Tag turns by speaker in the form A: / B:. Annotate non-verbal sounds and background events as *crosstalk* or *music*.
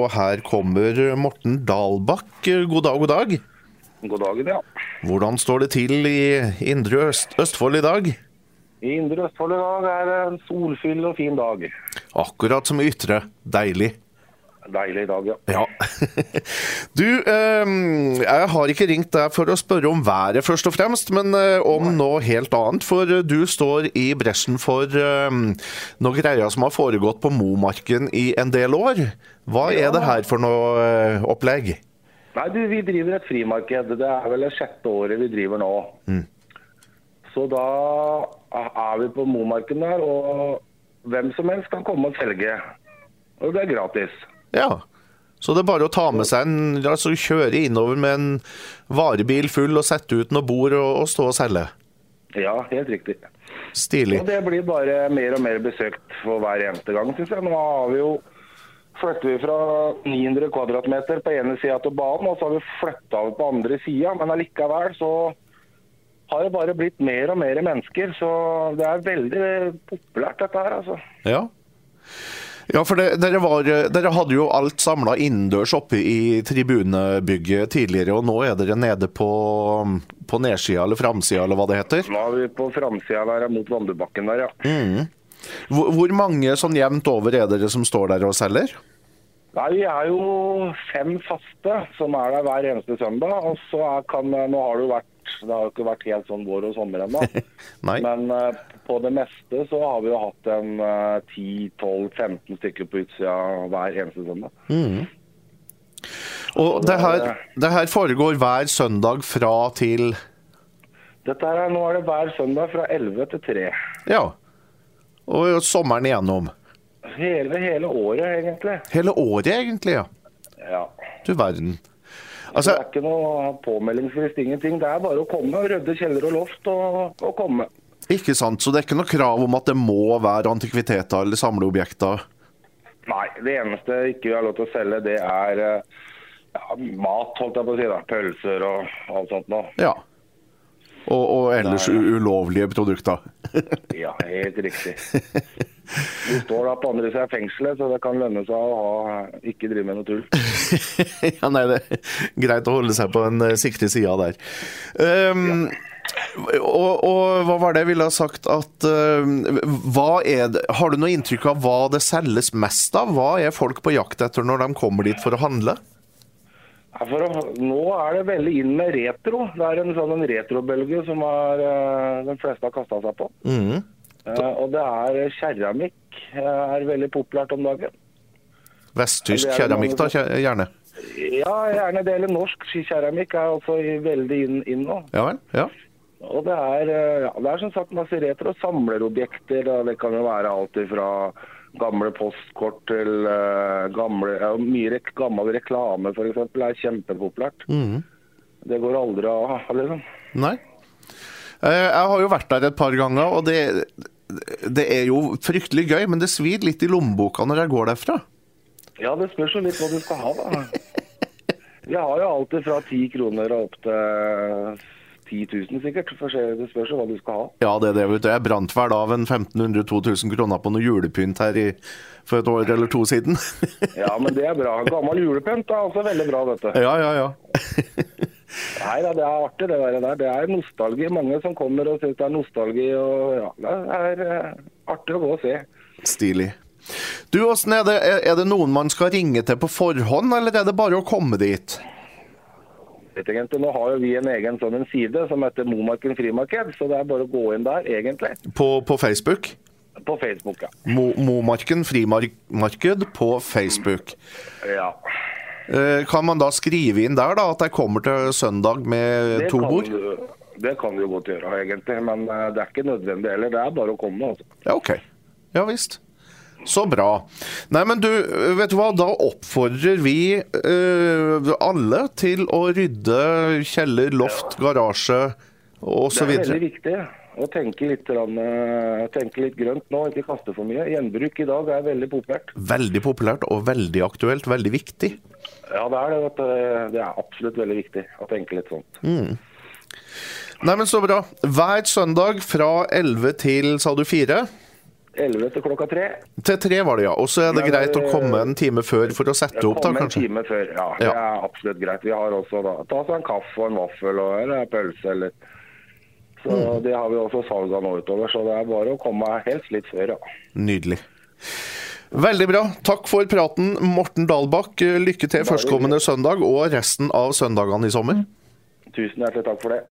A: Og her kommer Morten Dalbakk. God dag, god dag.
B: God dagen, ja.
A: Hvordan står det til i Indre Øst Østfold i dag?
B: I Indre Østfold i dag er det en solfyll og fin dag.
A: Akkurat som i Ytre. Deilig.
B: Deilig dag, ja.
A: Ja. *laughs* Du, eh, jeg har ikke ringt deg for å spørre om været først og fremst, men eh, om noe helt annet. For eh, du står i bresjen for eh, noe greier som har foregått på Momarken i en del år. Hva er det her for noe eh, opplegg?
B: Nei, du, vi driver et frimarked. Det er vel det sjette året vi driver nå. Så da er vi på Momarken der, og hvem som helst kan komme og selge. Og det er gratis.
A: Ja. Så det er bare å ta med seg en Altså kjøre innover med en varebil full og sette ut noe bord og, og stå og selge.
B: Ja, helt riktig.
A: Stilig.
B: Og det blir bare mer og mer besøkt for hver eneste gang, syns jeg. Nå har vi jo flytter vi fra 900 kvadratmeter på ene sida til banen, og så har vi flytta over på andre sida. Men allikevel så har det bare blitt mer og mer mennesker. Så det er veldig populært, dette her, altså.
A: Ja. Ja, for det, dere, var, dere hadde jo alt samla innendørs oppe i tribunebygget tidligere, og nå er dere nede på, på nedsida eller framsida eller hva det heter. Mm.
B: Nå er vi på framsida der mot Vandubakken der, ja.
A: Hvor, hvor mange sånn jevnt over er dere som står der og selger?
B: Nei, Vi er jo fem faste som er der hver eneste søndag. og så er, kan, Nå har det jo vært det har jo ikke vært helt sånn vår og sommer ennå.
A: Nei.
B: Men eh, på det meste så har vi jo hatt en eh, 10-12-15 stykker på utsida hver eneste søndag.
A: Og det her, det her foregår hver søndag fra til
B: Dette her, er- Nå er det hver søndag fra 11 til 3.
A: Ja. Og sommeren igjennom.
B: Hele, hele året, egentlig.
A: Hele året, egentlig, ja.
B: Ja.
A: Du verden.
B: Det
A: Altså,
B: er ikke noe påmeldingsfrist, ingenting. Det er bare å komme. Rydde kjeller og loft og, og komme.
A: ikke sant, så det er ikke noe krav om at det må være antikviteter eller samleobjekter.
B: Nei, det eneste ikke vi har lov til å selge, det er eh, ja, mat, holdt jeg på å si. da. Pølser og alt sånt noe.
A: Ja. Og, og ellers u- ulovlige produkter.
B: Ja, helt riktig. Vi står da på andre siden av fengselet, så det kan lønne seg å ha, ikke drive med noe tull.
A: *laughs* ja, nei, det er greit å holde seg på den eh, sikre sida der. Ehm, og, og hva var det jeg ville ha sagt at eh, hva er det, Har du noe inntrykk av hva det selges mest av? Hva er folk på jakt etter når de kommer dit for å handle?
B: Nei, For å, nå er det veldig inn med retro. Det er en sånn en retrobølge som er, eh, de fleste har kasta seg på.
A: Mm.
B: Eh, og det er keramikk eh, er veldig populært om dagen.
A: Vesttysk
B: Det er det
A: keramikk, da,
B: mange
A: kje- gjerne.
B: Ja, gjerne det. Eller norsk keramikk er også i- veldig inn, inn nå.
A: Ja vel? Ja.
B: Og det er, eh, ja, det er som sagt masse retro samlerobjekter. da. Det kan jo være alt fra gamle postkort til eh, gamle, ja, mye rek gammel reklame f.eks. er kjempepopulært. Det går aldri av, liksom.
A: Nei. Eh, Jeg har jo vært der et par ganger, og det, det er jo fryktelig gøy, men det svir litt i lommeboka når jeg går derfra.
B: Ja, det spørs jo litt hva du skal ha, da. Vi har jo alt fra 10 kroner og opp til 10 000 sikkert. For se- det spørs jo hva du skal ha.
A: Ja, det er det, vet du. Jeg brant vel av en 1500-2000 kroner på noe julepynt her i, for et år eller to siden.
B: Ja, men det er bra. Gammel julepynt er altså veldig bra, dette.
A: *laughs* ja, ja, ja.
B: Nei da, det er artig det der. der. Det er nostalgi. Mange som kommer og syns det er nostalgi. Og ja, det er eh, artig å gå og se.
A: Stilig. Du, Åssen er det? Er- Er det noen man skal ringe til på forhånd, eller er det bare å komme dit?
B: Vet du, egentlig, Nå har jo vi en egen sånn en side som heter Momarken frimarked, så det er bare å gå inn der, egentlig.
A: På, på Facebook?
B: På Facebook, ja.
A: Mo- Momarken frimarked på Facebook.
B: ja.
A: Eh, Kan man da skrive inn der da at jeg kommer til søndag med to
B: kan
A: bord?
B: du- Det kan du jo godt gjøre, egentlig. Men eh, det er ikke nødvendig heller. Det er bare å komme. altså.
A: Ja, ok. Ja visst. Så bra. Nei, men du, vet du hva? Da oppfordrer vi eh, alle til å rydde kjeller, loft, garasje
B: Det
A: osv.
B: er veldig viktig å tenke litt, grann, eh, tenke litt grønt nå, ikke kaste for mye. Gjenbruk i dag er veldig populært.
A: Veldig populært og veldig aktuelt, veldig viktig.
B: Ja, det er det. Vet du. Det er absolutt veldig viktig å tenke litt sånn. sånt.
A: Nei, men så bra. Hver søndag fra 11 til, sa du, 4?
B: 11 til klokka tre.
A: Til tre var det, ja. Og så er det
B: Men,
A: greit å
B: eh,
A: komme en time før for å sette opp, da,
B: Komme en
A: kanskje?
B: time før. Ja, det
A: Ja.
B: er absolutt greit. Vi har også da ta seg en kaffe og en vaffel og eller en pølse eller Så
A: Mm.
B: det har vi også salg av nå utover, så det er bare å komme helst litt før, ja.
A: Nydelig. Veldig bra. Takk for praten, Morten Dalbakk. Lykke til førstkommende søndag og resten av søndagene i sommer.
B: Tusen hjertelig takk for det.